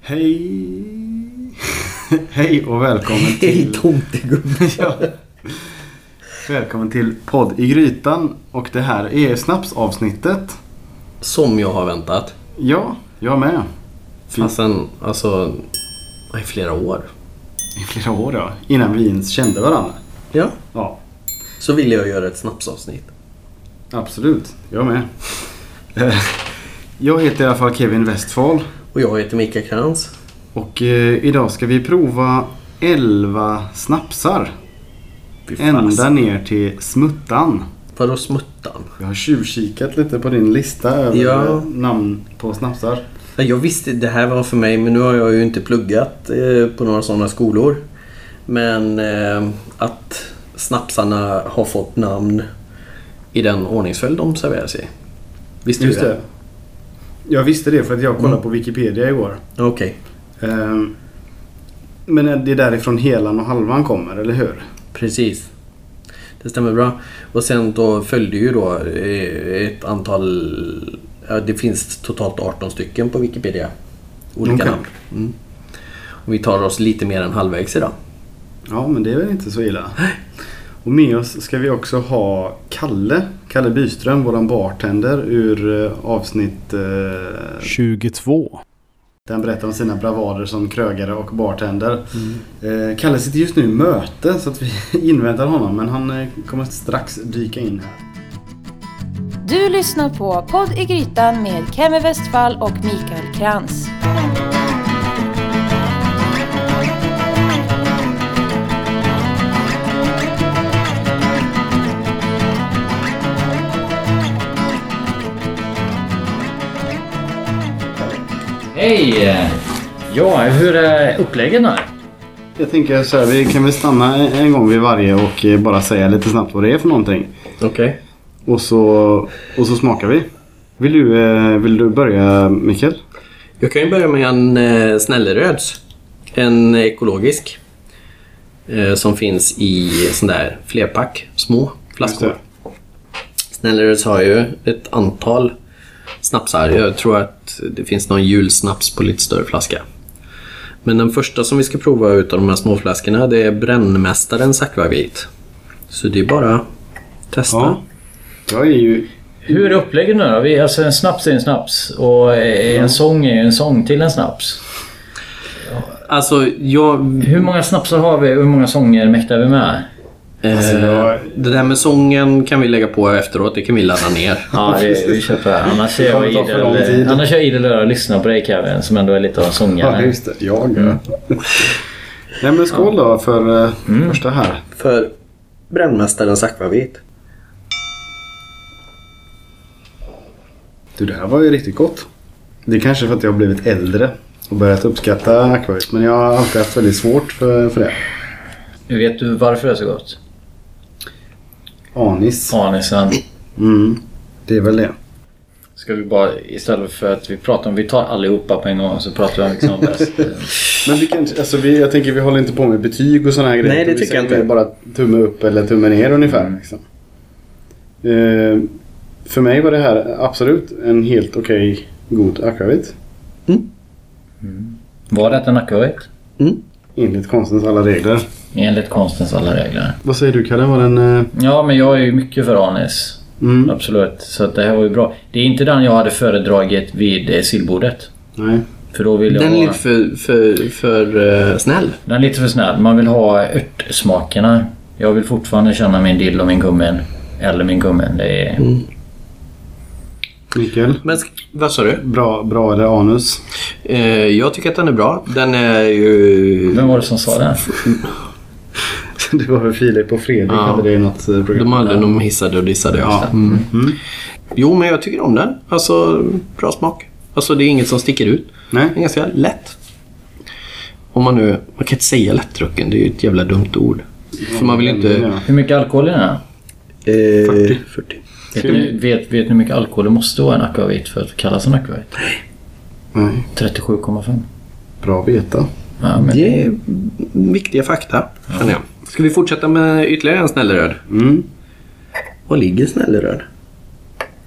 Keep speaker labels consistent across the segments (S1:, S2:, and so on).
S1: Hej! Hej och välkommen
S2: Hej
S1: till...
S2: tomtegubbe.
S1: ja. Välkommen till podd i grytan och det här är snapsavsnittet.
S2: Som jag har väntat.
S1: Ja, jag med. Fy,
S2: Fastän, alltså, i flera år.
S1: I flera år ja, innan vi ens kände varandra.
S2: Ja.
S1: Ja,
S2: Så ville jag göra ett snapsavsnitt.
S1: absolut. Jag med. Eh, jag heter i alla fall Kevin Westfall
S2: Och jag heter Mika Krantz.
S1: och eh, idag ska vi prova 11 snapsar.
S2: Fy fas.
S1: Ända ner till smuttan.
S2: Vadå smuttan?
S1: Jag har tjuvkikat lite på din lista över
S2: Ja.
S1: namn på snapsar.
S2: Ja, Jag visste det här var för mig, men nu har jag ju inte pluggat eh, på några sådana skolor. Men eh, att snapsarna har fått namn i den ordningsföljd de serveras i. Visste
S1: Just
S2: du Mm.
S1: det. Jag visste det för att jag kollade på Wikipedia igår.
S2: Okej.
S1: Ehm, Men det är därifrån helan och halvan kommer, eller hur?
S2: Precis. Det stämmer bra. Och sen då följde ju då eh, ett antal... Ja, det finns totalt 18 stycken på Wikipedia. Olika
S1: Okej.
S2: namn. Mm. Och vi tar oss lite mer än halvvägs idag.
S1: Ja, men det är väl inte så illa. Och med oss ska vi också ha Kalle, Kalle Byström, våran bartender ur eh, avsnitt... eh,
S3: 22.
S1: Där han berättar om sina bravader som krögare och bartender. Eh, Kalle sitter just nu i möte så att vi inväntar honom men han eh, kommer strax dyka in här.
S4: Du lyssnar på Podd i Grytan med Kemi Westfall och Mikael Krantz.
S5: Hej! Ja, hur är uppläggen här?
S1: Jag tänker så här, vi kan väl stanna en gång vid varje och eh, bara säga lite snabbt vad det är för någonting.
S2: Okej.
S1: Och så, och så smakar vi. Vill du, eh, vill du börja Mikael?
S2: Jag kan ju börja med en eh, Snälleröds. En ekologisk. Eh, som finns i sån där flerpack, små flaskor. Snälleröds har ju ett antal snapsar. Jag tror att det finns någon julsnaps på lite större flaska. Men den första som vi ska prova utav de här småflaskorna det är Brännmästaren Sakvavit. Så det är bara att testa.
S1: Ja. Jag är ju...
S5: Hur är uppläggen nu då? Vi, alltså en snaps är en snaps och eh, en sång är ju en sång till en snaps.
S2: Alltså, jag...
S5: Hur många snapsar har vi och hur många sånger mäktar vi med?
S1: Alltså,
S2: eh,
S1: jag-
S2: Det där med sången kan vi lägga på efteråt. Det kan vi ladda ner.
S5: Ja, vi, vi kör på det. här. Annars är
S1: Det kommer
S5: jag
S1: ta för lång tid.
S5: idel, annars är jag idel öra och lyssnar på dig Kevin som ändå är lite av en
S1: Ja,
S5: sångare.
S1: just det. Jag. Nej men skål då för eh, första här.
S2: För Brännmästarens akvavit.
S1: Du, det här var ju riktigt gott. Det är kanske för att jag har blivit äldre och börjat uppskatta akvavit. Men jag har alltid haft väldigt svårt för, för det.
S5: Vet du varför det är så gott?
S1: Anis.
S5: Anisen.
S1: Mm, det är väl det.
S5: Ska vi bara istället för att vi pratar om, vi tar allihopa på en gång så pratar vi om liksom bäst.
S1: Men vi kan, alltså vi, jag tänker vi håller inte på med betyg och sådana här grejer.
S2: Nej, det
S1: Vi
S2: tycker jag
S1: säger
S2: inte.
S1: Bara tumme upp eller tumme ner ungefär. Liksom. Eh, för mig var det här absolut en helt okej god akvavit.
S5: Var detta en akvavit?
S1: Enligt konstens alla regler.
S5: Enligt konstens alla regler.
S1: Vad säger du Kalle? Var den... eh,
S5: Ja, men jag är ju mycket för anis.
S1: Mm.
S5: Absolut, så att det här var ju bra. Det är inte den jag hade föredragit vid eh, sillbordet.
S1: Nej.
S5: För då vill jag
S2: Den är
S5: ha...
S2: lite för, för, för eh, snäll.
S5: Den är lite för snäll. Man vill ha örtsmakerna. Jag vill fortfarande känna min dill och min kummin. Eller min kummin. Det är...
S2: Mm.
S1: Mikael?
S2: Men sk- vad sa du?
S1: Bra, bra eller anus?
S2: Eh, jag tycker att den är bra. Den är ju...
S5: Vem var det som sa det?
S1: Det var väl Filip och Fredrik
S2: Ja.
S1: hade det i något eh, program.
S2: De hade de hissade och dissade. Ja. Mm. Jo, men jag tycker om den. Alltså, bra smak. Alltså, det är inget som sticker ut. Den är
S1: Nej.
S2: ganska lätt. Om man nu... Man kan inte säga lättdrucken. Det är ju ett jävla dumt ord. För man vill ju inte...
S1: Ja.
S5: Hur mycket alkohol är det?
S2: 40. 40.
S5: Vet ni, vet, vet ni hur mycket alkohol det måste vara i en akvavit för att kallas en akvavit?
S1: Nej.
S5: 37,5.
S1: Bra att veta.
S5: Ja, men...
S2: Det är Mm. viktiga fakta, känner jag. Ska vi fortsätta med ytterligare en snällröd?
S1: Mm.
S2: Var ligger snällröd?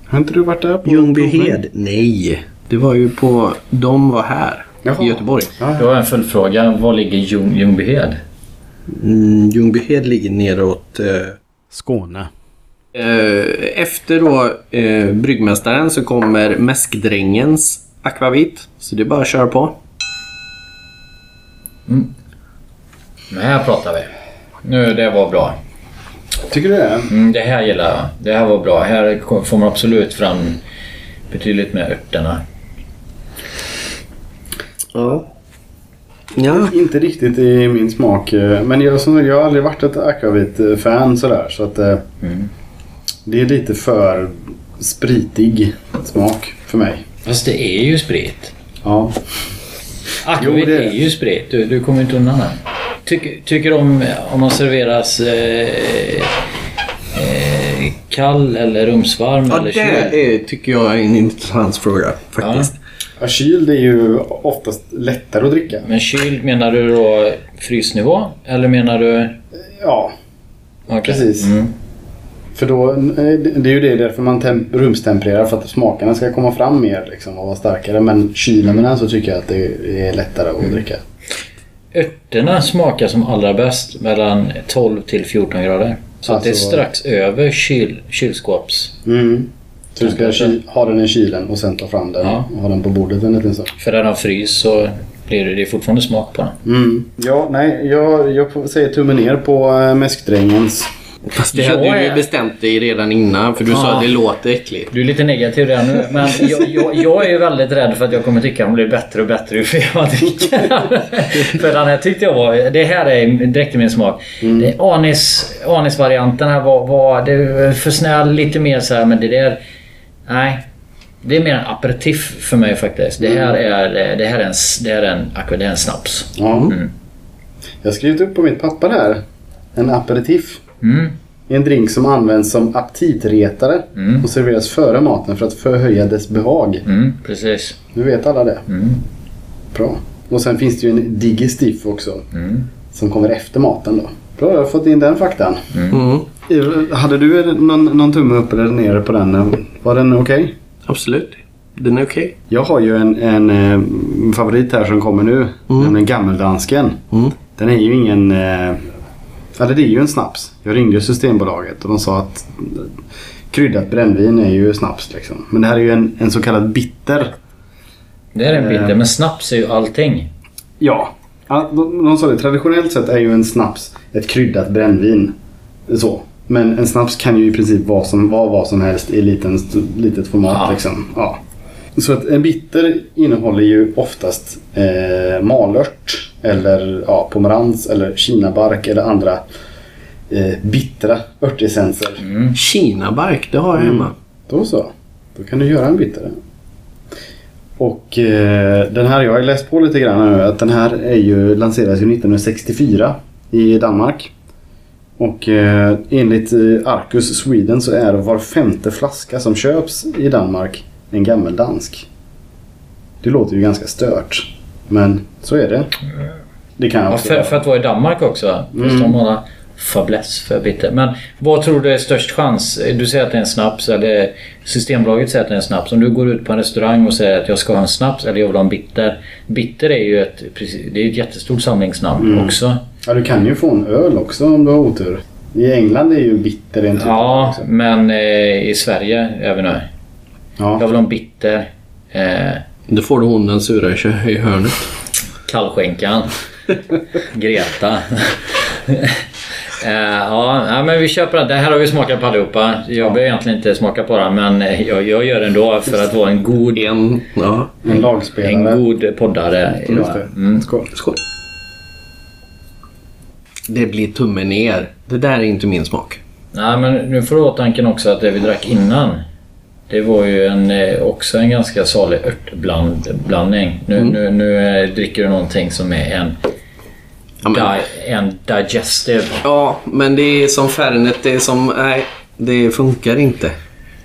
S1: Har inte du varit där på proven?
S2: Ljungbyhed? Nej. Det var ju på... De var här.
S1: Jaha.
S2: i Göteborg.
S5: Då har jag en följdfråga. Var ligger Ljung, Ljungbyhed?
S2: Mm, Ljungbyhed ligger neråt. Eh,
S1: Skåne.
S2: Eh, efter då eh, bryggmästaren så kommer mäskdrängens akvavit. Så det är bara att köra på.
S5: Men här pratar vi. Nu, det var bra.
S1: Tycker du det?
S5: Mm, det här gillar jag. Det här var bra. Här kom- får man absolut fram betydligt mer örterna.
S2: Ja. Ja.
S1: Inte riktigt i min smak. eh, Men jag, som, sagt, jag har aldrig varit ett akvavit-fan sådär. Så att, eh,
S2: Mm.
S1: Det är lite för spritig smak för mig.
S5: Fast det är ju sprit.
S1: Ja.
S5: Akvavit
S1: Jo, det är
S5: är
S1: det.
S5: ju sprit. Du, du kommer inte undan den. Tyck, tycker om om de serveras eh, eh, kall eller rumsvarm
S2: Ja,
S5: eller
S2: det
S5: kyld?
S2: är, tycker jag är en intressant fråga faktiskt.
S1: Ja, Kyld är ju oftast lättare att dricka.
S5: Men kyld, menar du då frysnivå? Eller menar du...
S1: Ja,
S5: Okej.
S1: Precis.
S5: Mm.
S1: för då, eh, det det är ju det därför man tem- rumstempererar. För att smakerna ska komma fram mer liksom, och vara starkare. Men kyler med den så tycker jag att det är lättare att dricka.
S5: Örterna smakar som allra bäst mellan 12 till 14 grader. Så att det är
S1: Alltså-
S5: strax över kyl, kylskåps...
S1: Mm. Så du ska ky- ha den i kylen och sen ta fram den
S5: Ja.
S1: och ha den på bordet en liten stund.
S5: För när den frys så blir det, det är fortfarande smak på den.
S1: Mm. Ja, nej, jag, jag får säga tummen ner på äh, mäskdrängens.
S2: Fast det
S5: Jag
S2: hade du ju
S5: är-
S2: bestämt dig redan innan för du sa
S5: Ja.
S2: att det låter äckligt.
S5: Du är lite negativ redan nu, men jag, jag, jag är ju väldigt rädd för att jag kommer tycka att den blir bättre och bättre ju fler man dricker. för den här tyckte jag var... Det här är direkt i min smak. Det- Anis, anisvarianten här var, var, det var för snäll, lite mer så här, men det där... Nej. Det är mer en aperitif för mig faktiskt. Det här är, eh, det här är, en, s- det här är, en, akva- det här är en snaps.
S1: Ja. Jag har skrivit upp på mitt papper här. En aperitif.
S5: Mm.
S1: En drink som används som aptitretare och serveras före maten för att förhöja dess behag.
S5: Mm, precis.
S1: Nu vet alla det. Bra. Och sen finns det ju en digestif också.
S5: Mm.
S1: Som kommer efter maten då. Bra, jag har fått in den faktan.
S2: Mm.
S1: Eh, Hade du någon, någon tumme upp eller ner på den? Eh, Var den okej?
S2: Absolut. Den är okej.
S1: Jag har ju en, en eh, favorit här som kommer nu. Nämligen Gammeldansken.
S2: Mm.
S1: Den är ju ingen... Eh, eller det är ju en snaps. Jag ringde Systembolaget och de sa att eh, kryddat brännvin är ju snaps. Liksom. Men det här är ju en, en så kallad bitter.
S5: Det här är en bitter, men snaps är ju allting.
S1: Ja. ja, De, de sa det. Traditionellt sett är ju en snaps ett kryddat brännvin. Så. Men en snaps kan ju i princip vara som, vara vad som helst i liten, litet format.
S5: Ja.
S1: Liksom. Ja. Så att en bitter innehåller ju oftast eh, malört eller ja, pomerans eller kinabark eller andra eh, bittra örtessenser.
S2: Kinabark, det har jag hemma.
S1: Då så. Då kan du göra en bitare. Och eh, den här, jag har ju läst på lite grann nu, att den här är ju, lanserades ju 1964 i Danmark. Och eh, enligt eh, Arcus Sweden så är var femte flaska som köps i Danmark en gammal dansk. Det låter ju ganska stört. Men så är det. Det kan jag
S5: Ja,
S1: också.
S5: för, för att vara i Danmark också. Fast de har en fäbless för bitter. Men vad tror du är störst chans? Du säger att det är en snaps eller Systembolaget säger att det är en snaps. Om du går ut på en restaurang och säger att jag ska ha en snaps eller jag vill ha en bitter. Bitter är ju ett, precis- det är ett jättestort samlingsnamn också.
S1: Ja, du kan ju få en öl också om du har otur. I England är ju bitter en typ av
S5: Ja,
S1: också.
S5: men eh, i Sverige även nu. Jag
S1: Ja.
S5: vill ha en bitter. Eh,
S2: Då får du hon den sura i kö- i hörnet.
S5: Kallskänkan. Greta. Eh, ja, ja, men vi köper den. Det här har vi smakat på allihopa. Jag behöver egentligen inte smaka på den, men eh, jag, jag gör det ändå för att vara en god,
S2: En, ja.
S1: En lagspelare.
S5: en god poddare.
S1: Just
S5: Idag.
S1: det.
S5: Mm.
S1: Skål.
S2: Skål. Det blir tummen ner. Det där är inte min smak.
S5: Nej, men nu får du ha tanken också att det vi drack innan, det var ju en, eh, också en ganska salig örtblandning. Nu, nu, nu eh, dricker du någonting som är en,
S2: Ja, men,
S5: di, en digestive.
S2: ja, men det är som Fernet. Det är som... Nej, det funkar inte.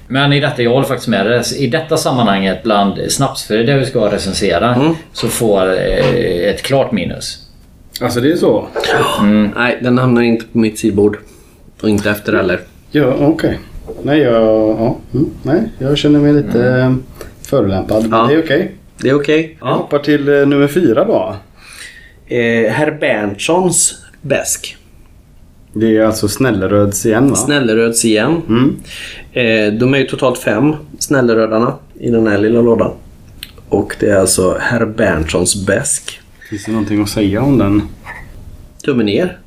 S5: Men i detta, jag håller faktiskt med dig. I detta sammanhanget bland snapsfrö där vi ska recensera så får eh, ett klart minus.
S1: Alltså det är så?
S2: Nej, den hamnar inte på mitt sidbord. Och inte efter heller.
S1: Ja, okej. Nej, jag, ja, mm, nej, jag känner mig lite mm. förolämpad. Men
S2: Ja.
S1: det är okej.
S2: Det är okej.
S1: Vi
S2: Ja.
S1: hoppar till eh, nummer fyra då.
S2: Eh, Herr Berntssons bäsk.
S1: Det är alltså Snälleröds igen va?
S2: Snälleröds igen.
S1: Mm.
S2: Eh, de är ju totalt fem Snällerödarna i den här lilla lådan. Och det är alltså Herr Berntssons bäsk.
S1: Finns det någonting att säga om den?
S2: Tummen ner.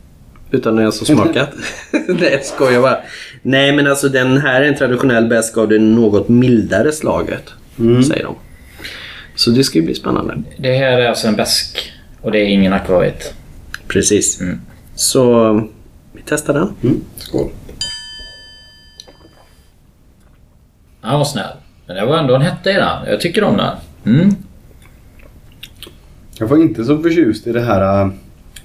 S2: Utan att ens ha smakat. Nej, jag skojar bara. Nej, men alltså den här är en traditionell bäsk av det något mildare slaget. Säger de. Så det ska ju bli spännande.
S5: Det här är alltså en besk och det är ingen akvavit.
S2: Precis.
S5: Mm.
S2: Så vi testar den.
S1: Mm. Skål.
S5: Han var snäll. Men det var ändå en hetta i den. Jag tycker om den. Mm.
S1: Jag var inte så förtjust i det här, eh,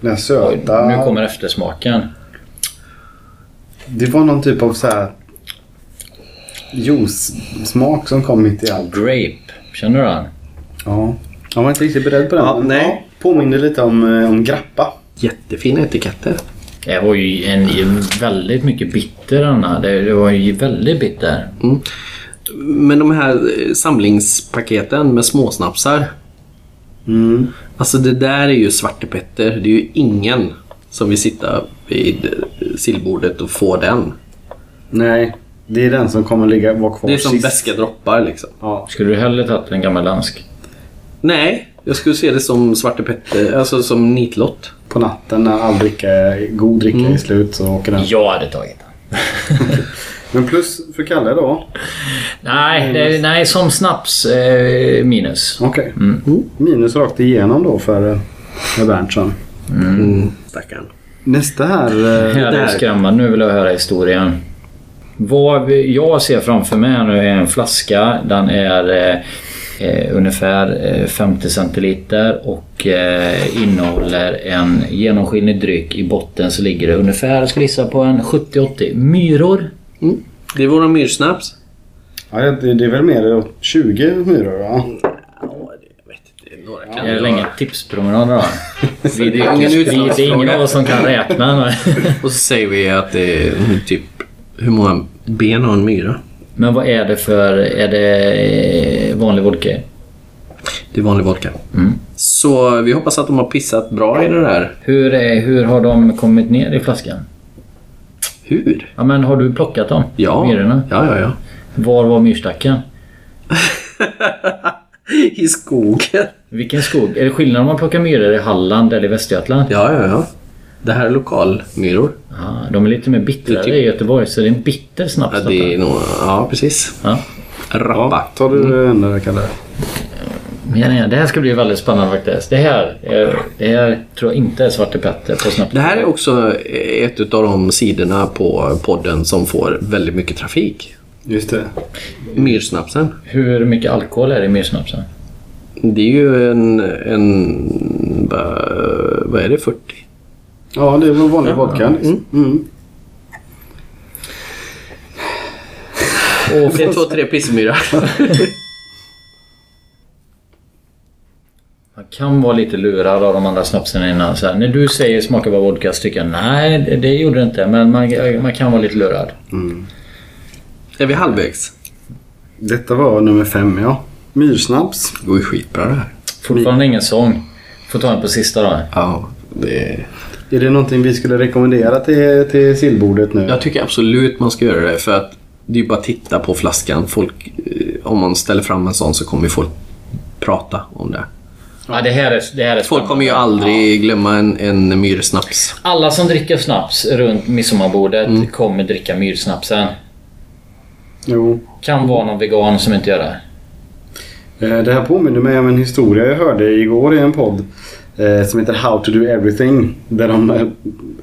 S1: den här
S5: Oj,
S1: söta.
S5: nu kommer eftersmaken.
S1: Det var någon typ av så här juice-smak som kom mitt i allt.
S5: Grape. Känner du den?
S1: Ja. Jag var inte riktigt beredd på den.
S2: Ja,
S1: men
S2: nej.
S1: ja, Påminner lite om, eh, om grappa.
S2: Jättefina etiketter.
S5: Det var ju en, väldigt mycket bitter den här. Det, det var ju väldigt bitter.
S2: Men de här eh, samlingspaketen med småsnapsar.
S1: Mm.
S2: Alltså det där är ju svartepetter. Det är ju ingen som vill sitta vid eh, sillbordet och få den.
S1: Nej, det är den som kommer ligga, vara kvar
S2: Det är som
S1: sist.
S2: beska droppar liksom.
S1: Ja.
S5: Skulle du hellre tagit en gammal dansk?
S2: Nej, jag skulle se det som svartepetter, alltså som nitlott.
S1: På natten när all dricka, god dricka är slut så åker den.
S5: Jag hade tagit den.
S1: Men plus för Kalle då.
S5: Nej, det, nej som snaps eh, minus.
S1: Okej. Minus rakt igenom då för eh, för Berntsson.
S2: Mm. Stackarn.
S1: Nästa här. eh,
S5: Jag är
S2: där.
S5: skrämmande. Nu vill jag höra historien. Vad vi- jag ser framför mig här nu är en flaska. Den är eh, eh, ungefär eh, 50 centiliter och eh, innehåller en genomskinlig dryck. I botten så ligger det ungefär, jag skulle gissa på en 70-80 myror.
S2: Mm. Det är våra myrsnaps.
S1: Ja, det, det är väl mer åt 20 myror va?
S2: Ja, det- jag vet inte. Några kan
S5: Det är
S2: det
S5: väl
S2: vara.
S5: ingen tipspromenad då? Vi, det,
S2: är ingen
S5: vi, det är ingen
S2: utslagsfråga.
S5: av oss som kan räkna. men-
S2: Och så säger vi att det är typ... Hur många ben har en myra?
S5: Men vad är det för... Är det eh, vanlig vodka?
S2: Det är vanlig vodka. Så vi hoppas att de har pissat bra i det där.
S5: Hur, är, hur har de kommit ner i flaskan?
S2: Hur?
S5: Ja, men har du plockat dem?
S2: Ja.
S5: Myrorna?
S2: Ja, ja, ja.
S5: Var var myrstacken?
S2: I skogen.
S5: Vilken skog? Är det skillnad om man plockar myror i Halland eller i Västergötland?
S2: Ja, ja, ja. Det här är lokalmyror.
S5: Ah, de är lite mer bittrare
S2: Det typ-
S5: i Göteborg, så det är en bitter snaps.
S2: Ja, det är nog... Ja, precis.
S5: Ja.
S2: Rappa.
S1: Tar du det ända där Kalle?
S5: Men nej, det här ska bli väldigt spännande faktiskt. Det här, är, det här tror jag inte är Svarte Petter på snabbt.
S2: Det här är också ett av de sidorna på podden som får väldigt mycket trafik.
S1: Just det.
S2: Myrsnapsen.
S5: Hur mycket alkohol är det i myrsnapsen?
S2: Det är ju en... en bara- vad är det? 40?
S1: Ja, det var vanlig vodka. Liksom. Mm.
S2: Och en, två, tre pissmyra.
S5: Man kan vara lite lurad av de andra snapsen innan. Så här, när du säger smaka bara vodka så tycker jag nej, det, det gjorde det inte. Men man, man kan vara lite lurad.
S2: Är vi halvvägs?
S1: Detta var nummer fem ja. Myrsnaps.
S2: Det går ju skitbra det här.
S5: Fortfarande ingen sång. Får ta en på sista då.
S2: Ja, det...
S1: Är det någonting vi skulle rekommendera till, till sillbordet nu?
S2: Jag tycker absolut man ska göra det för att det är ju bara att titta på flaskan. Folk, eh, om man ställer fram en sån så kommer ju folk prata om det.
S5: Ja, det här är, det här är
S2: Folk
S5: spännande.
S2: kommer ju aldrig glömma en, en myrsnaps.
S5: Alla som dricker snaps runt midsommarbordet
S2: Mm.
S5: kommer dricka myrsnapsen.
S1: Jo.
S5: Kan vara någon vegan som inte gör det.
S1: Eh, Det här påminner mig om en historia jag hörde igår i en podd eh, som heter How to do everything. Där de eh,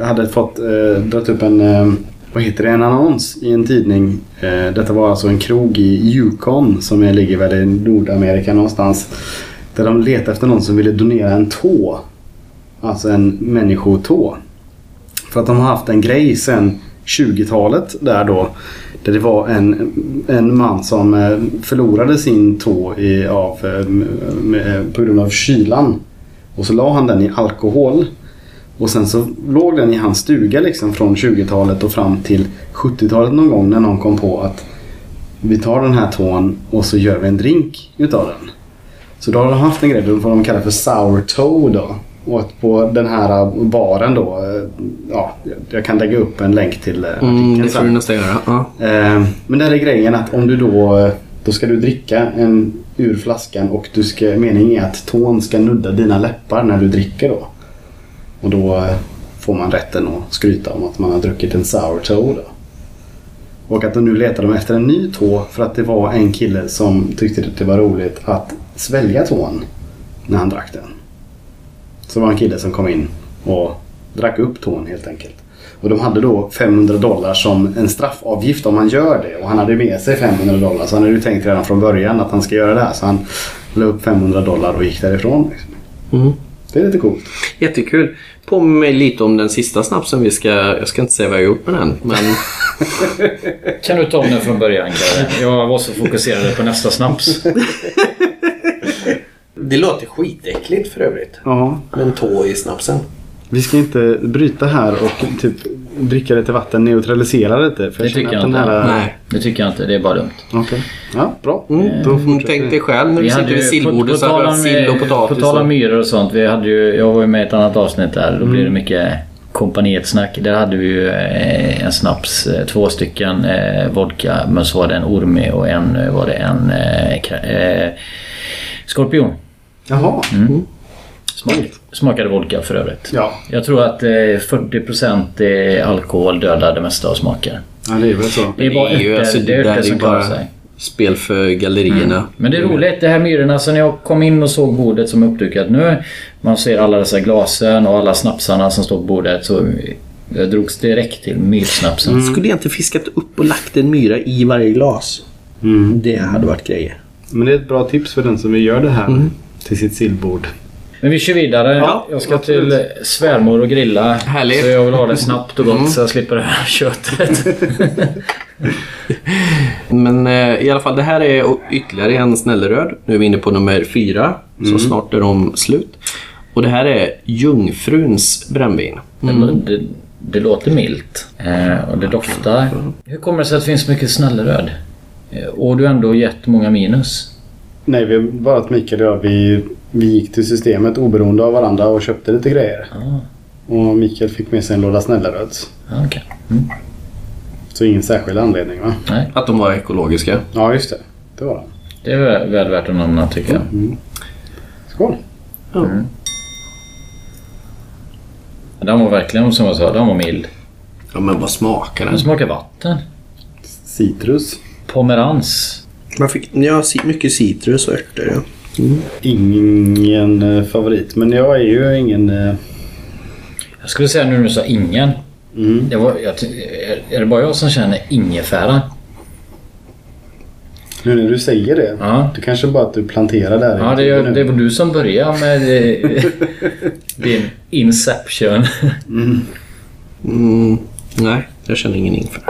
S1: hade fått eh, dragit upp en, eh, vad heter det, en annons i en tidning. Eh, Detta var alltså en krog i Yukon som är- ligger väl i Nordamerika någonstans. Där de letade efter någon som ville donera en tå. Alltså en människotå. För att de har haft en grej sedan 20-talet där då. Där det var en, en man som eh, förlorade sin tå i, av, eh, m- m- eh, på grund av kylan. Och så la han den i alkohol. Och sen så låg den i hans stuga liksom från 20-talet och fram till 70-talet någon gång när någon kom på att vi tar den här tån och så gör vi en drink utav den. Så då har de haft en grej, vad de kallar för sour toe då. Och på den här baren då, eh, ja, jag kan lägga upp en länk till eh,
S2: Mm,
S1: artikeln
S2: det får du
S1: sen.
S2: nästan göra. Ja.
S1: Eh, Men där är grejen att om du då, eh, då ska du dricka en ur flaskan och du ska, meningen är att tån ska nudda dina läppar när du dricker då. Och då eh, får man rätten att skryta om att man har druckit en sour toe då. Och att de nu letar de efter en ny tå för att det var en kille som tyckte att det var roligt att svälja tån när han drack den. Så det var en kille som kom in och drack upp tån helt enkelt. Och de hade då 500 dollar som en straffavgift om man gör det. Och han hade med sig 500 dollar så han hade ju tänkt redan från början att han ska göra det här. Så han la upp 500 dollar och gick därifrån. Liksom.
S2: Mm.
S1: Det är lite coolt.
S2: Jättekul. Påminner mig lite om den sista snapsen vi ska... Jag ska inte säga vad jag har gjort med den. Men
S5: Kan du ta om den från början Kalle? Jag var så fokuserad på nästa snaps.
S3: Det låter skitäckligt för övrigt.
S1: Ja,
S3: Med en tå i snapsen.
S1: vi ska inte bryta här och typ dricka lite vatten, neutralisera lite. För
S5: Det tycker jag inte.
S2: nej.
S5: Det tycker jag inte. Det är bara dumt.
S1: Okej. Ja, bra.
S5: Eh,
S2: Mm,
S1: Då
S2: då
S1: fortsätter
S2: tänk
S1: vi.
S2: dig själv när du sitter
S5: ju-
S2: vid sillbordet så
S5: på,
S2: hade
S5: tal
S2: du
S5: om, eh,
S2: haft sill och
S5: På
S2: potatis.
S5: tal om
S2: och-
S5: myror och sånt. Vi hade ju, jag var ju med i ett annat avsnitt där. Då blev det
S2: Mm.
S5: mycket kompaniets snack. Där hade vi ju eh, en snaps, eh, två stycken eh, vodka. Men så var det en orme och en eh, var det en eh, kra- eh, skorpion.
S1: Jaha.
S5: Mm. Smak, smakade vodka för övrigt.
S1: Ja.
S5: Jag tror att eh, 40% eh, alkohol dödar det mesta av smaker.
S1: ja, det är väl så.
S5: Det är bara örter,
S2: alltså,
S5: det är
S2: där
S5: örter
S2: ju
S5: som klarar sig. Mm.
S2: spel för gallerierna.
S5: Men det är
S2: Mm.
S5: roligt, det här myrorna. Så när jag kom in och såg bordet som är uppdukat nu. Man ser alla dessa glasen och alla snapsarna som står på bordet. Så jag drogs direkt till myrsnapsen.
S2: Mm. Skulle jag inte fiskat upp och lagt en myra i varje glas? Det hade varit grejer.
S1: Men det är ett bra tips för den som vill göra det här
S5: Mm.
S1: till sitt sillbord.
S5: Men vi kör vidare.
S2: Ja,
S5: jag ska
S1: absolut.
S5: till svärmor och grilla.
S2: Härligt. Mm.
S5: Så jag vill ha det snabbt och gott så jag slipper det här köttet.
S2: Men eh, i alla fall, det här är o- ytterligare en snällröd. Nu är vi inne på nummer fyra,
S5: Mm.
S2: så snart är de slut. Och det här är Jungfruns brännvin.
S5: det, det låter milt eh, och det doftar.
S2: Mm.
S5: Hur kommer det sig att det finns mycket snällröd? Eh, Och du har ändå gett många minus.
S1: Nej, vi bara att Mikael och jag vi, vi gick till systemet oberoende av varandra och köpte lite grejer.
S5: Ah.
S1: Och Mikael fick med sig en låda Snällaröds.
S5: Ja, okej. Mm.
S1: Så ingen särskild anledning va?
S5: Nej,
S2: Att de var ekologiska.
S1: Ja, just det. Det var det.
S5: det är väl, väl värt att nämna tycker jag.
S1: Skål!
S5: Den var verkligen som jag sa, den var mild.
S2: Ja, men vad smakar den?
S5: Den smakar vatten.
S1: Citrus.
S5: Pomerans.
S3: Man fick, ja, ci- mycket citrus och örter. Ja.
S1: Ingen eh, favorit, men jag är ju ingen... eh,
S5: Jag skulle säga nu när du sa ingen. Det var, jag, ty- är- är det bara jag som känner ingefära?
S1: Nu när du säger det.
S5: Ja.
S1: Det kanske bara att du planterar där. i
S5: Ja, det,
S1: tiden
S5: är,
S1: nu.
S5: det var du som började med eh, din inception.
S2: Mm, nej, jag känner ingen inför.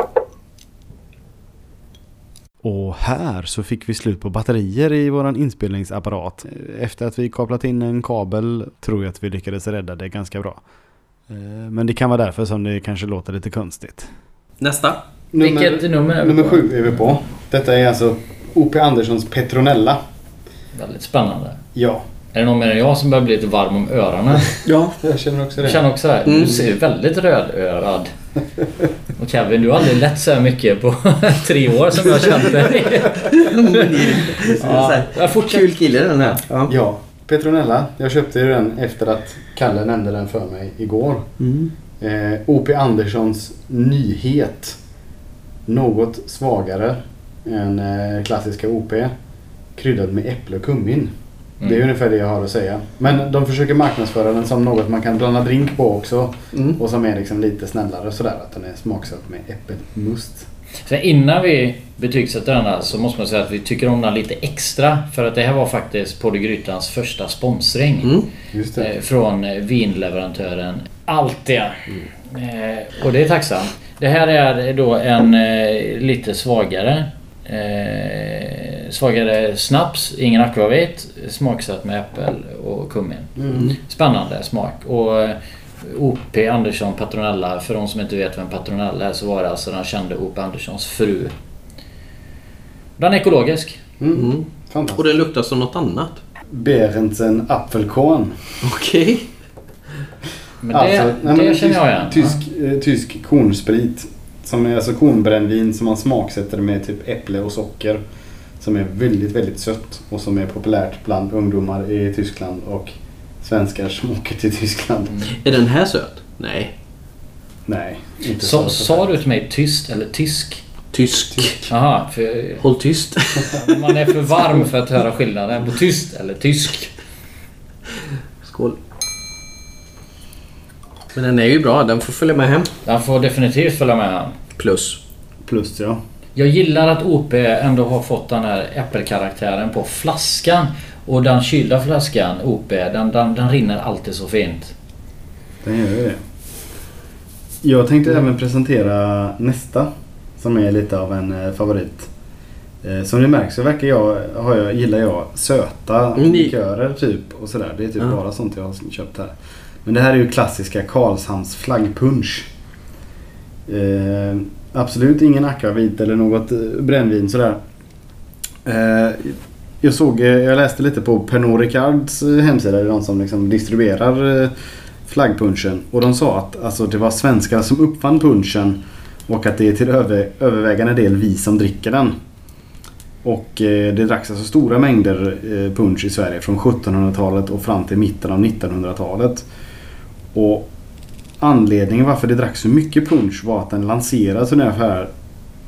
S1: Och här så fick vi slut på batterier i våran inspelningsapparat. Efter att vi kopplat in en kabel tror jag att vi lyckades rädda det ganska bra. Eh, Men det kan vara därför som det kanske låter lite konstigt.
S2: Nästa.
S5: Vilket nummer är vi på?
S1: sju är vi på. Detta är alltså O.P. Anderssons Petronella.
S5: Väldigt spännande.
S1: Ja.
S5: Är det någon mer än jag som börjar bli lite varm om öronen?
S1: Ja, jag känner också
S5: Jag känner också här, du ser ju väldigt rödörad. Och Kevin, du har aldrig lätt så här mycket på tre år som jag har känt dig. Ja, jag fortsätter.
S2: Kul kille den här. Ja.
S1: Ja, Petronella. Jag köpte ju den efter att Kalle nämnde den för mig igår. Eh, O.P. Anderssons nyhet. Något svagare än eh, klassiska O.P. Kryddad med äpple och kummin. Det är ungefär det jag har att säga. Men de försöker marknadsföra den som något man kan blanda drink på också. Och som är liksom lite snällare sådär. Att den är smaksatt med äppelmust.
S5: Sen innan vi betygsätter den här så måste man säga att vi tycker om den lite extra. För att det här var faktiskt Podd i Grytans första sponsring.
S1: Just det.
S5: Eh, Från eh, vinleverantören Altia.
S1: Mm.
S5: Eh, Och det är tacksamt. Det här är då en eh, lite svagare eh, Svagare snaps, ingen akvavit, smaksatt med äppel och kummin.
S1: Mm.
S5: Spännande smak. Och eh, O.P. Andersson Patronella, för de som inte vet vem Patronella är så var det alltså den kände O.P. Anderssons fru. Den är ekologisk.
S1: Mm.
S2: Och
S1: Fantastiskt.
S2: den luktar som något annat.
S1: Berentsen Apfelkorn.
S2: Okej.
S5: Men det,
S1: Alltså, nej, men
S5: det
S1: tysk,
S5: känner jag igen.
S1: Tysk, eh, tysk kornsprit. Som är alltså kornbrännvin som man smaksätter med typ äpple och socker. Som är väldigt, väldigt sött och som är populärt bland ungdomar i Tyskland och svenskar som åker till Tyskland.
S5: Mm.
S2: Är den här söt? Nej.
S1: Nej,
S5: Ja.
S1: inte
S5: Så,
S1: så.
S5: sa du till mig tyst eller tysk?
S2: Tysk.
S5: Jaha, för
S2: Håll tyst.
S5: man är för varm för att höra skillnaden på tyst eller tysk.
S2: Skål. Men den är ju bra. Den får följa med hem.
S5: Den får definitivt följa med han.
S2: Plus.
S1: Plus ja.
S5: Jag gillar att OP ändå har fått den här äppelkaraktären på flaskan. Och den kylda flaskan, OP, den, den, den rinner alltid så fint.
S1: Den gör ju det. Jag tänkte
S2: Mm.
S1: även presentera nästa. Som är lite av en eh, favorit. Eh, Som ni märker så verkar jag, har jag, gillar jag söta
S2: Mm, ni-
S1: likörer typ. Och sådär. Det är typ
S2: Ja.
S1: bara sånt jag har köpt här. Men det här är ju klassiska Karlshamns flaggpunsch. Eh, absolut ingen akvavit eller något eh, brännvin sådär. Eh, jag såg, eh, jag läste lite på Pernod Ricards eh, hemsida, det är de som liksom distribuerar eh, flaggpunschen. Och de sa att alltså, det var svenskar som uppfann punschen och att det är till över, övervägande del vi som dricker den. Och eh, det dracks alltså stora mängder eh, punsch i Sverige från 1700-talet och fram till mitten av 1900-talet. Och anledningen varför det dracks så mycket punsch var att den lanserades ungefär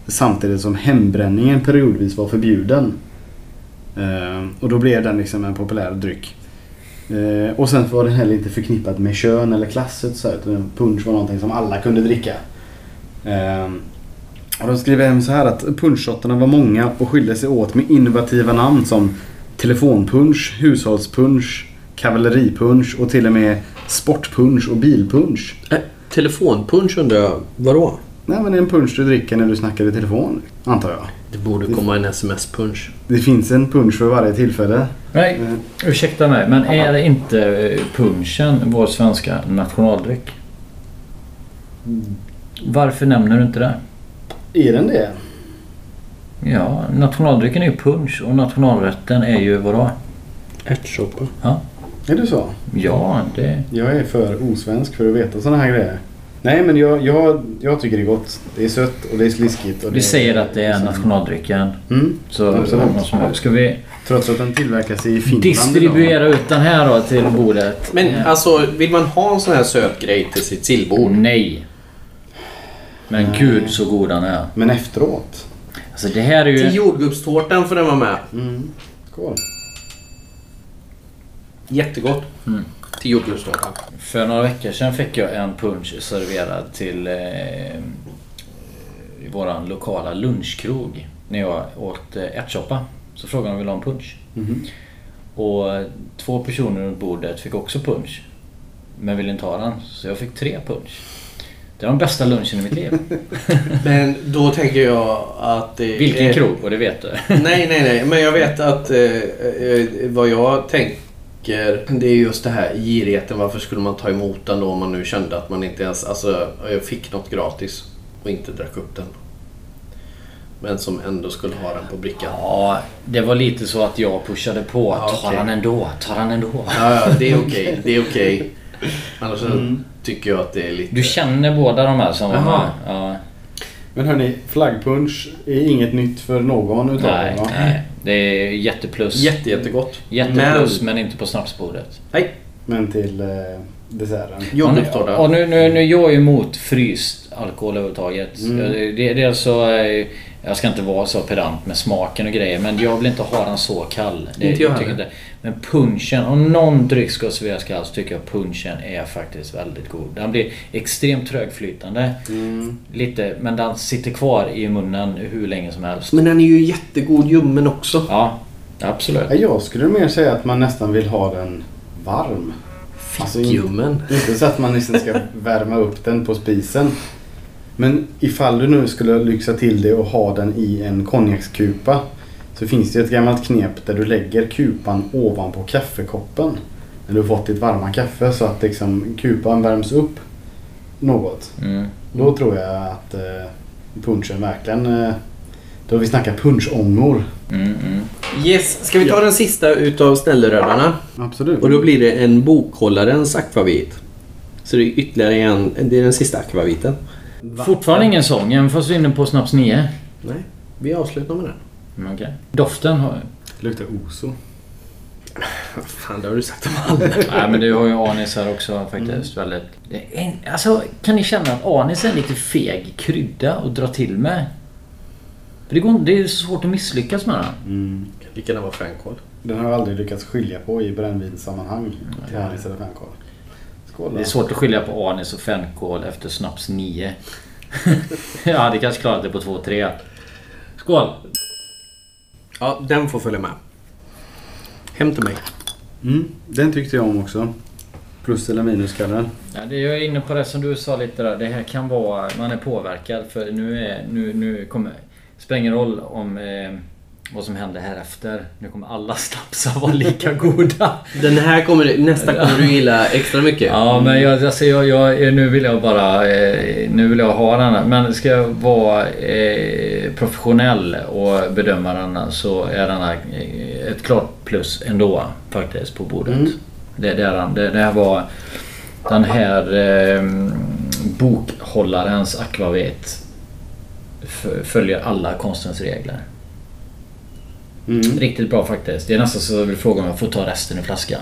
S1: samtidigt som hembränningen periodvis var förbjuden. Eh, och då blev den liksom en populär dryck. Eh, och sen var den heller inte förknippad med kön eller klass och så här, utan punsch var någonting som alla kunde dricka. Eh, och de skriver hem så här att punschshottarna var många och skilde sig åt med innovativa namn som telefonpunsch, hushållspunsch, kavalleripunsch och till och med sportpunsch och bilpunsch.
S2: Äh, telefonpunsch undrar jag. Vadå?
S1: Nej men det är en punsch du dricker när du snackar i telefon, antar jag.
S2: Det borde komma en sms-punsch.
S1: Det finns en punsch för varje tillfälle.
S5: Nej,
S1: Mm.
S5: ursäkta mig, men är det inte eh, punschen vår svenska nationaldryck? Varför nämner du inte det?
S1: Är den det?
S5: Ja, nationaldrycken är ju punsch och nationalrätten är ju vadå?
S2: Ärtsoppa.
S1: Är det så?
S5: Ja, det...
S1: Jag är för osvensk för att veta sådana här grejer. Nej men jag, jag, jag tycker det är gott. Det är sött och det är sliskigt. Och
S5: Vi säger att det är nationaldrycken.
S1: Mm.
S5: Så
S1: Absolut.
S5: någon som- ska vi
S1: Trots att den tillverkas i Finland idag.
S5: distribuera ut den här då till bordet?
S2: Men
S5: Ja.
S2: alltså, vill man ha en sån här söt grej till sitt
S5: Oh,
S2: sillbord?
S5: nej. Men gud så god den är.
S1: Men efteråt.
S5: Alltså det här är
S2: Till
S5: ju...
S2: jordgubbstårtan får den vara med.
S1: Skål.
S2: Jättegott. Till jordgubbstårtan.
S5: För några veckor sedan fick jag en punch serverad till eh, i våran lokala lunchkrog. När jag åt eh, ärtsoppa. Så frågade de om jag ville ha en punch.
S3: Mhm.
S5: Och eh, två personer runt bordet fick också punch. Men ville inte ha den. Så jag fick tre punch. Det var den bästa lunchen i mitt liv.
S3: Men då tänker jag att... det
S5: Vilken
S3: är-
S5: krog? Och det vet du.
S3: Nej, nej, nej. Men jag vet att eh, eh, vad jag tänker det är just det här girigheten. Varför skulle man ta emot den då om man nu kände att man inte ens alltså, jag fick något gratis och inte drack upp den? Men som ändå skulle ha den på brickan.
S5: Ja, det var lite så att jag pushade på.
S3: Ja,
S5: Tar
S3: okej.
S5: han ändå? Tar han ändå?
S3: Ja, ja, det är okej. Det är okej. Annars så tycker jag att det är lite...
S5: Du känner båda de här som var
S3: Jaha.
S5: med? Ja.
S1: Men hörni, flaggpunsch är inget nytt för någon utav
S5: Nej,
S1: er va?
S5: nej. Det är jätteplus.
S3: Jätte, jättegott.
S5: jätteplus, men... inte på snapsbordet.
S3: Nej,
S1: Men till eh, desserten.
S3: jordgubbstårta.
S5: Och nu, nu, nu, jag är emot fryst alkohol överhuvudtaget. Det, det är alltså... eh, Jag ska inte vara så pedant med smaken och grejer, men jag vill inte ha den så kall. Det,
S2: Inte jag
S5: tycker
S2: heller.
S5: Men punchen, om någon dryck ska serveras kall så tycker jag punchen är faktiskt väldigt god. Den blir extremt trögflytande. Lite, men den sitter kvar i munnen hur länge som helst.
S2: Men den är ju jättegod ljummen också.
S5: Ja, absolut.
S1: Nej, Jag skulle mer säga att man nästan vill ha den varm. Alltså, in-
S2: Ljummen.
S1: Inte så att man liksom ska värma upp den på spisen. Men ifall du nu skulle lyxa till det och ha den i en konjakskupa. Så finns det ett gammalt knep där du lägger kupan ovanpå kaffekoppen. När du fått ditt varma kaffe så att liksom kupan värms upp något.
S5: Mm.
S1: Då tror jag att eh, punchen verkligen... Eh, då har vi snackat punschångor.
S5: Mm, mm.
S2: Yes, ska vi ta den sista utav snällrödarna?
S1: Absolut.
S2: Och då blir det en bokhållarens akvavit. Så det är ytterligare en, det är den sista akvaviten.
S5: Fortfarande ingen sång, även fast vi är inne på snaps 9.
S2: Nej, vi avslutar med den.
S5: Mm, okej. Doften har...
S1: Det luktar oso.
S2: Fan, det har du sagt om alla.
S5: Nej men du har ju anis här också faktiskt. Väldigt... Mm. Det är en... Alltså kan ni känna att anis är en lite feg krydda att dra till med? För det, går... det är så svårt att misslyckas med den.
S2: Det kan vara fänkål.
S1: Den har jag aldrig lyckats skilja på i brännvinssammanhang. Till anis eller fänkål. Skål då.
S5: Det är svårt att skilja på anis och fänkål efter snaps 9. jag hade kanske klarat det på 2-3. Skål!
S2: Ja, den får följa med. Hem till mig.
S1: Mm, den tyckte jag om också. Plus eller minus kallar den.
S5: Ja, det jag är inne på det som du sa lite där. Det här kan vara... Man är påverkad för nu är... Nu, nu kommer... Spelar ingen roll om... Eh, vad som händer här efter. Nu kommer alla snapsar vara lika goda.
S2: Den här kommer du- nästa kommer du gilla extra mycket.
S5: Ja men jag, alltså, jag, jag, nu vill jag bara... Eh, nu vill jag ha den här. Men ska jag vara eh, professionell och bedöma den här, så är den här eh, ett klart plus ändå faktiskt på bordet. Det, det är den. Det, det här var den här eh, bokhållarens akvavit. f- Följer alla konstens regler.
S1: Mm.
S5: Riktigt bra faktiskt. Det är nästan så jag vill fråga om jag får ta resten i flaskan.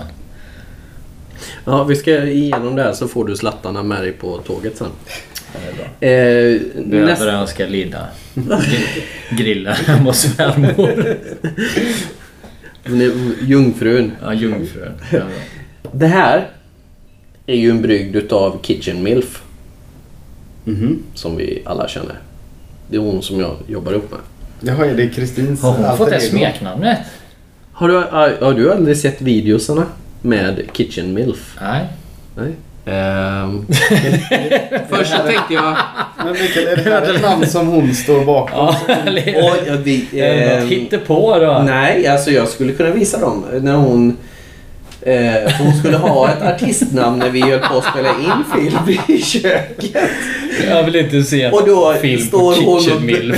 S2: Ja, vi ska igenom det här så får du slattarna med dig på tåget sen. Eh, nästa-
S5: Behöver önska lida. Grilla hemma hos svärmor.
S2: Nu- Jungfrun.
S5: Ja, jungfrun. Ja, bra.
S2: Det här är ju en brygd utav Kitchen Milf.
S1: Mhm.
S2: Som vi alla känner. Det är hon som jag jobbar ihop med.
S1: Jaha, är det Kristins
S5: Har hon fått
S1: alter
S5: det
S1: ego?
S5: smeknamnet?
S2: Har du, har, har du aldrig sett videosarna med Kitchen Milf?
S5: Nej.
S2: Nej. Ehm. Först så tänkte jag...
S1: Men Mikael, är det här ett namn som hon står bakom?
S5: Ja, eller-
S2: Oj, ja, vi,
S5: Är det
S2: ehm,
S5: något hittepå då?
S2: Nej, alltså jag skulle kunna visa dem när hon... Eh, för hon skulle ha ett artistnamn när vi höll på att spela in film i köket.
S5: Jag vill inte se
S2: Och då
S5: film på
S2: står hon och-
S5: Kitchen Mill.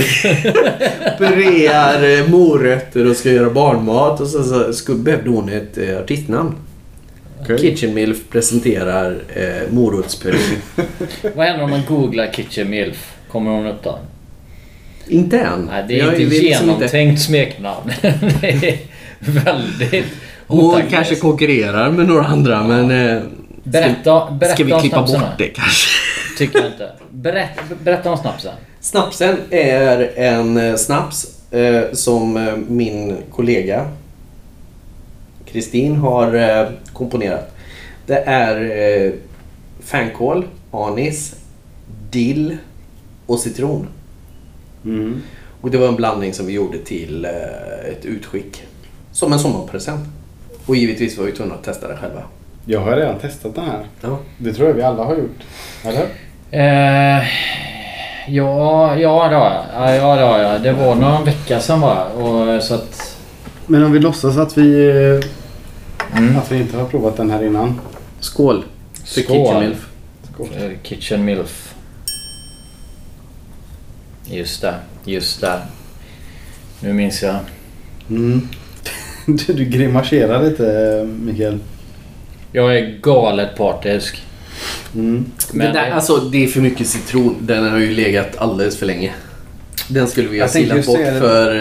S2: Brear eh, morötter och ska göra barnmat och så, så, så behövde hon ett eh, artistnamn.
S1: Okej.
S2: Kitchen Milf presenterar eh, morotspuré.
S5: Vad händer om man googlar Kitchen Milf? Kommer hon upp då?
S2: inte än.
S5: Nej, det är
S2: Jag
S5: inte
S2: vet liksom
S5: genomtänkt smeknamn. Det är väldigt
S2: Hon
S5: otaggad.
S2: kanske konkurrerar med några andra men... Eh,
S5: Berätta, berätta
S2: ska vi
S5: om
S2: klippa
S5: snapsen
S2: bort
S5: här.
S2: det kanske?
S5: Tycker jag inte. Berätta, berätta om snapsen.
S2: Snapsen är en eh, snaps eh, som eh, min kollega Kristin har eh, komponerat. Det är eh, fänkål, anis, dill och citron.
S1: Mm.
S2: Och det var en blandning som vi gjorde till eh, ett utskick. Som en sommarpresent. Och givetvis var vi tvungna att testa det själva.
S1: Jag har redan testat den här.
S2: Ja.
S1: Det tror jag vi alla har gjort. Eller?
S5: Eh, ja, ja det har jag. Ja, ja, det har jag. Det var någon vecka sedan bara. Och, så att,
S1: Men om vi låtsas att vi, eh, att vi inte har provat den här innan.
S2: Skål! För
S5: Skål.
S2: Kitchen Milf.
S1: Skål.
S5: eh, kitchen milf. Just det, just det. Nu minns jag.
S1: Mm. Du, du grimaserar lite Mikael.
S5: Jag är galet partisk.
S1: Mm.
S5: Men-
S2: det, där, alltså, det är för mycket citron. Den har ju legat alldeles för länge. Den skulle vi ha
S1: Jag tänkte
S2: silat
S1: just
S2: bort
S1: säga det.
S2: för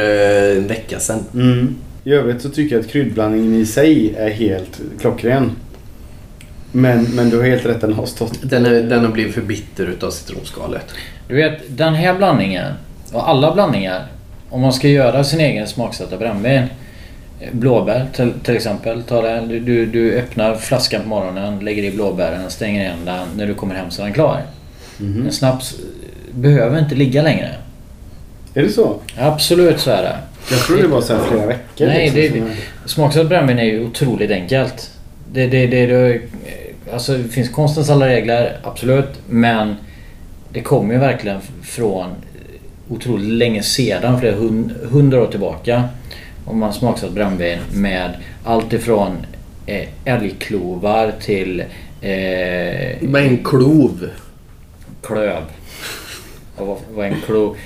S2: eh, en vecka sedan.
S1: Mm. I övrigt så tycker jag att kryddblandningen i sig är helt klockren. Men, men du har helt rätt, den har stått.
S2: Den, är, den har blivit för bitter utav citronskalet.
S5: Du vet, den här blandningen och alla blandningar. Om man ska göra sin egen smaksatta brännvin. eh, Blåbär till, till exempel. Ta det, du, du, du öppnar flaskan på morgonen, lägger i blåbären, stänger igen den. När du kommer hem så är den klar. En snaps eh, behöver inte ligga längre.
S1: Är det så?
S5: Absolut så är det.
S1: Jag tror det var så här flera veckor. liksom,
S5: Nej, det,
S1: som
S5: det,
S1: är-
S5: smaksatt brännvin är ju otroligt enkelt. Det, det, det, det, alltså, det finns konstens alla regler, absolut. Men det kommer ju verkligen från otroligt länge sedan, flera hun- hundra år tillbaka. Om man smaksatt brännvin med allt ifrån eh, älgklovar till eh,
S2: Med en klov.
S5: klöv. Och vad, vad är en klo?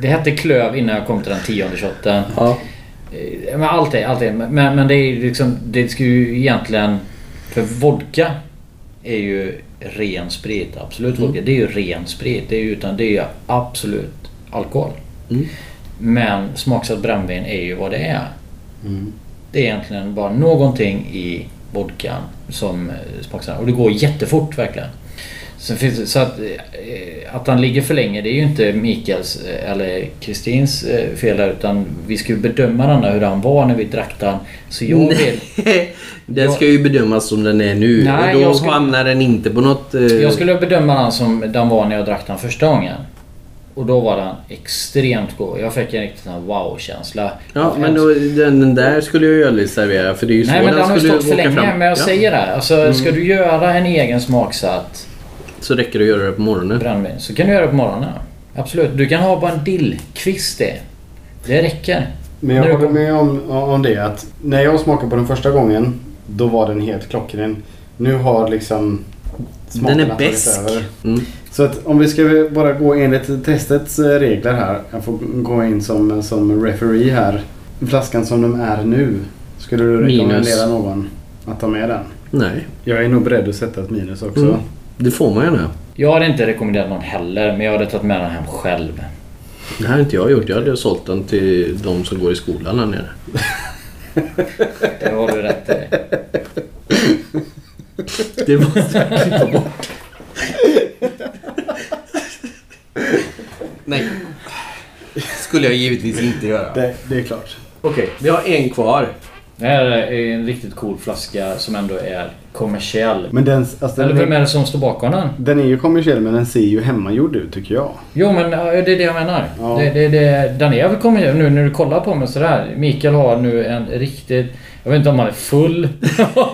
S5: Det hette klöv innan jag kom till den tionde shotten.
S2: Ja.
S5: Eh, Men allt är, allt är. Men, men det är ju liksom, det ska ju egentligen... För vodka är ju ren sprit. Absolut vodka. Det är ju ren sprit. Det är ju, utan, det är ju absolut alkohol. Men smaksatt brännvin är ju vad det är.
S2: Mm.
S5: Det är egentligen bara någonting i vodkan som eh, smaksatt. Och det går jättefort verkligen. Sen finns det, så att, eh, att han ligger för länge det är ju inte Mikaels eh, eller Kristins eh, fel här, utan vi ska ju bedöma den där hur han var när vi drack den. Så jag vill,
S2: den ska ju bedömas som den är nu.
S5: Nej,
S2: och då
S5: jag ska-
S2: hamnar den inte på något... eh,
S5: jag skulle bedöma den som den var när jag drack den första gången. Och då var den extremt god. Jag fick en riktig sån här wow-känsla.
S2: Ja, men då, den, den där skulle jag ju aldrig servera för det är ju så
S5: Nej men den har ju
S2: skulle
S5: stått för
S2: åka
S5: länge.
S2: fram.
S5: Men jag
S2: ja.
S5: säger det. Alltså, Ska du göra en egen smaksatt
S2: Så räcker det att göra det på morgonen.
S5: brännvin så kan du göra det på morgonen. Absolut. Du kan ha bara en dillkvist det. Det räcker.
S1: Men jag
S5: Nu
S1: håller
S5: kom-
S1: med om, om det att när jag smakade på den första gången då var den helt klockren. Nu har liksom smakerna
S2: Den är
S1: tagit
S2: besk.
S1: över.
S2: Mm.
S1: Så att om vi ska bara gå enligt testets eh, regler här. Jag får gå in som, som referee här. Flaskan som de är nu. Skulle du
S2: Minus.
S1: rekommendera någon att ta med den?
S2: Nej,
S1: Jag är nog beredd att sätta ett minus också.
S2: Mm. det får man gärna.
S5: Jag hade inte rekommenderat någon heller men jag hade tagit med den hem själv.
S2: Det här har inte jag gjort. Jag hade sålt den till de som går i skolan här nere.
S5: Det har du rätt i.
S2: Det måste jag klippa bort. Nej. Skulle jag givetvis inte göra. Okej,
S1: Det, det är klart.
S2: vi har en kvar.
S5: Det här är en riktigt cool flaska som ändå är kommersiell.
S1: Men den, alltså,
S5: Eller
S1: den,
S5: vem
S1: är,
S5: är det som står bakom den?
S1: den är ju kommersiell men den ser ju hemmagjord ut tycker jag.
S5: Jo men ja, det är det jag menar.
S1: Ja.
S5: Det, det, det, den är väl kommer nu när du kollar på mig sådär. Mikael har nu en riktigt... Jag vet inte om han är full.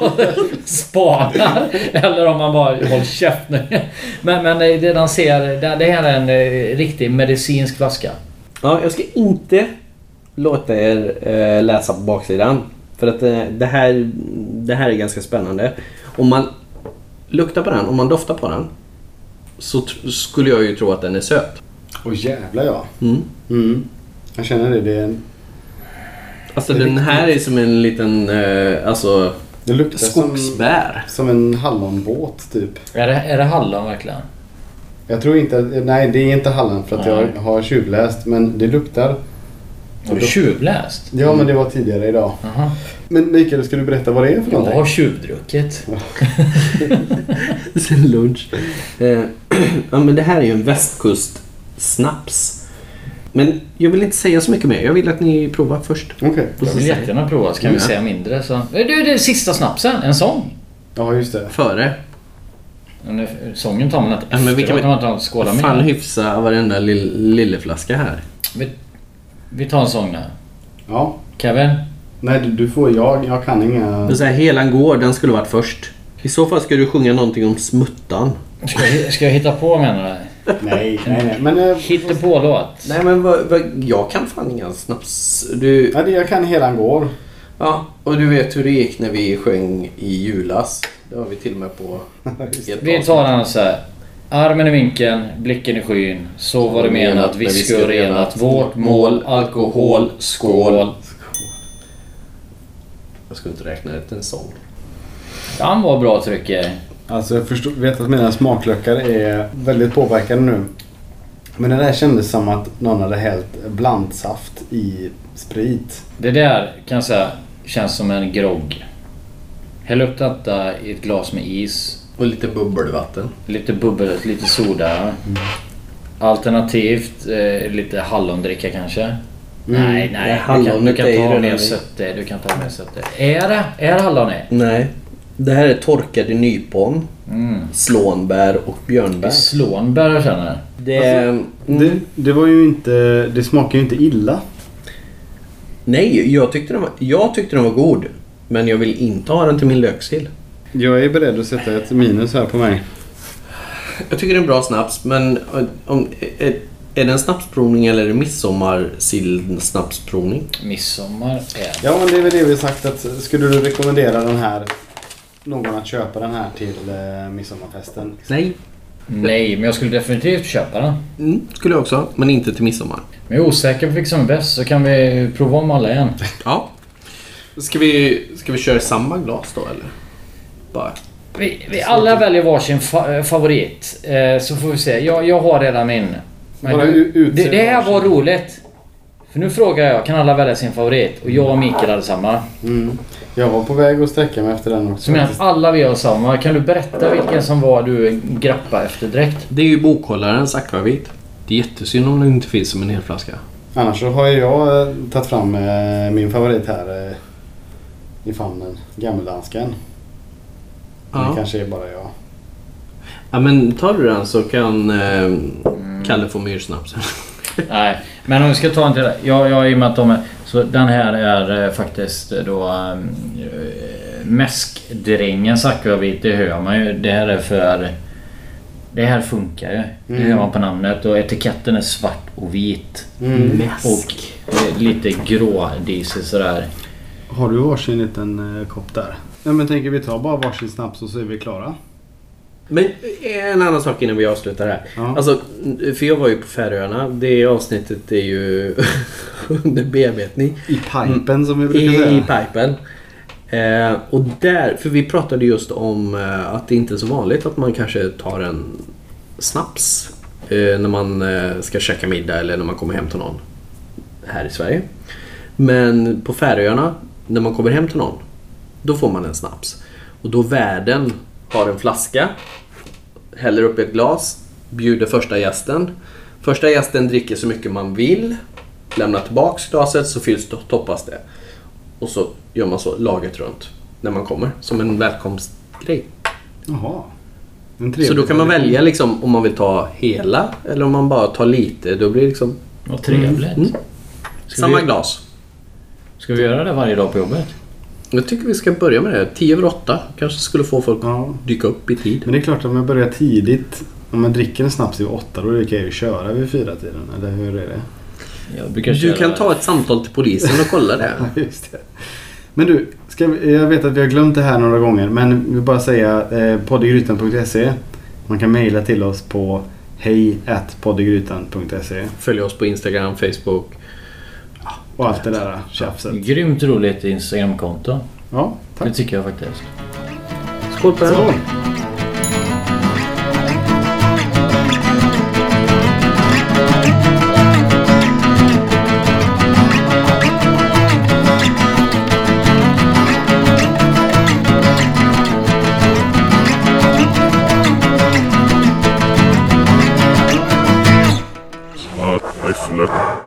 S5: spanar. Eller om han bara håll käft nu. Men, men eh, det, det den ser, det, det här är en eh, riktig medicinsk flaska.
S2: Ja, jag ska inte låta er eh, läsa på baksidan. För att eh, det, här, det här är ganska spännande. Om man luktar på den, om man doftar på den. Så tr- skulle jag ju tro att den är söt.
S1: Åh jävlar ja.
S2: Mm.
S1: Mm. Jag känner det. Det, är en-
S2: Alltså den här är som en liten eh, alltså,
S1: det luktar som...
S2: skogsbär.
S1: Som en hallonbåt typ.
S5: Är det, är det hallon verkligen?
S1: Jag tror inte, nej det är inte hallon för att
S5: Nej.
S1: jag har tjuvläst men det luktar.
S5: Har du tjuvläst?
S1: Ja men det var tidigare idag.
S5: Jaha.
S1: Men Mikael ska du berätta vad det är för
S5: Jag
S1: någonting?
S5: har tjuvdruckit.
S2: Sen lunch. Eh, ja, men det här är ju en västkustsnaps. Men jag vill inte säga så mycket mer. Jag vill att ni provar först.
S1: Okej.
S5: Jag vill jättegärna prova så kan vi säga mindre. Så. Eh, Du, det är sista snapsen. En sång.
S1: Ja just det.
S2: Före.
S5: Men nu- Sången tar man inte
S2: Ja, men vi kan väl-
S5: efteråt när man tar skålar med.
S2: Fan hyfsa varenda lill, lilleflaska här.
S5: Vi, vi tar en sång nu.
S1: Ja.
S5: Kevin?
S1: Nej du, du får, jag, jag kan inga.
S2: Men så här, Helan går, den skulle varit först. I så fall ska du sjunga någonting om smuttan.
S5: Ska jag, ska jag hitta på menar du?
S1: Nej, nej, nej. Men eh,
S5: Hitta på låt
S2: Nej men vad, vad, jag kan fan inga snaps. Du,
S1: ja, det- jag kan hela går.
S2: ja, och du vet hur det gick när vi sjöng i julas. Det har vi till och med på ett
S5: Vi tar den så här. Armen i vinkeln, blicken i skyn. Så var det menat, vi skulle renat. Vårt mål, alkohol, skål.
S2: Jag skulle inte räkna det till en sång.
S5: Den var bra trycker.
S1: Alltså jag förstår, vet att mina smaklökar är väldigt påverkade nu. Men det där kändes som att någon hade hällt blandsaft i sprit.
S5: Det där kan jag säga känns som en grogg. Häll upp detta i ett glas med is.
S2: Och lite bubbelvatten.
S5: Lite bubbel, lite
S2: Mm.
S5: soda. Alternativt eh, lite hallondricka kanske.
S2: Mm.
S5: Nej, nej.
S2: Nej,
S5: du kan,
S2: hallonet är
S5: du
S2: ju
S5: kan ta
S2: redan
S5: mer
S2: i.
S5: sötte. Du kan ta mer sötte. Är det? Är det hallon i?
S2: Nej. Det här är torkade nypon,
S5: Mm.
S2: slånbär och
S5: Det
S2: björnbär.
S5: är slånbär jag känner.
S2: Det, Alltså,
S1: Det, det var ju inte, det smakar ju inte illa.
S2: Nej, jag tyckte, den var, jag tyckte den var god. Men jag vill inte ha den till min löksill.
S1: Jag är beredd att sätta ett minus här på mig.
S2: Jag tycker det är en bra snaps, men eh, om, är, är det en snapsprovning eller är det midsommarsill-snapsprovning?
S5: Midsommar är...
S1: Ja, men det är väl det vi sagt att skulle du rekommendera den här någon att köpa den här till eh, midsommarfesten?
S2: Nej.
S5: Nej, men jag skulle definitivt köpa den.
S2: Mm, skulle jag också, men inte till midsommar.
S5: Men jag är osäker på vilken som är bäst så kan vi prova om alla igen.
S2: Ja. Ska vi, ska vi köra samma glas då eller? Bara.
S5: Vi, vi alla väljer varsin fa- favorit. Eh, så får vi se. Jag, jag har redan min. Men
S1: Bara
S5: du-
S1: u- utse
S5: det, det här
S1: varsin.
S5: var roligt. För nu frågar jag, kan alla välja sin favorit? Och jag och Mikael hade samma.
S1: Mm. Jag var på väg att sträcka mig efter den också.
S5: Så jag menar att alla vi har samma. Kan du berätta vilken som var du grappade efter direkt?
S2: Det är ju bokhållarens akvavit. Det är jättesynd om den inte finns som en hel flaska.
S1: Annars så har ju jag eh, tagit fram eh, min favorit här eh, i famnen. Gammeldansken. Men Det
S2: Ja.
S1: kanske är bara jag.
S2: ja men tar du den så kan eh, Kalle få myrsnaps.
S5: Nej, men om vi ska ta en till. Jag, jag, I och med att de är, så den här är eh, faktiskt eh, då... eh, Mäskdrängens akvavit, det hör man ju. Det här är för... Det här funkar ju. Det
S2: Mm.
S5: hör man på namnet. Och etiketten är svart och vit.
S2: Mm.
S5: Och eh, lite grå diesel sådär.
S1: Har du varsin liten eh, kopp där? Ja men tänker vi tar bara varsin snaps och så är vi klara.
S2: Men en annan sak innan vi avslutar här.
S1: Ja.
S2: Alltså, för jag var ju på Färöarna. Det avsnittet är ju under bearbetning.
S1: I pipen som vi
S2: I,
S1: brukar säga.
S2: i pipen. Eh, och där, för vi pratade just om eh, att det inte är så vanligt att man kanske tar en snaps eh, när man eh, ska käka middag eller när man kommer hem till någon här i Sverige. Men på Färöarna, när man kommer hem till någon, då får man en snaps. Och då värden har en flaska, häller upp ett glas, bjuder första gästen. Första gästen dricker så mycket man vill, lämnar tillbaks glaset så fylls det, toppas det. Och så gör man så laget runt när man kommer, som en välkomstgrej.
S1: Jaha. En
S2: Så
S1: trevlig
S2: då kan man
S1: tradition.
S2: välja liksom om man vill ta hela eller om man bara tar lite. Då blir det liksom
S5: Vad trevligt.
S2: Mm. samma
S5: vi-
S2: glas.
S5: Ska vi göra det varje dag på jobbet?
S2: Jag tycker vi ska börja med det. 10 över 8 kanske skulle få folk
S1: Ja.
S2: att dyka upp i tid.
S1: Men det är klart om jag börjar tidigt. Om man dricker en snaps vid åtta då kan jag ju köra vid fyra tiden. Eller hur är det?
S5: Jag brukar
S2: Du
S5: köra-
S2: kan ta ett samtal till polisen och kolla det.
S1: Ja, Just det. Men du, ska vi, jag vet att vi har glömt det här några gånger men vi vill bara säga eh, poddegrytan.se Man kan mejla till oss på hej poddegrytan.se
S2: Följ oss på Instagram, Facebook.
S1: och allt det där tjafset.
S5: Grymt roligt Instagramkonto.
S1: Ja,
S5: Det
S1: tack.
S5: tycker jag faktiskt.
S2: Skål på er!
S1: Skål!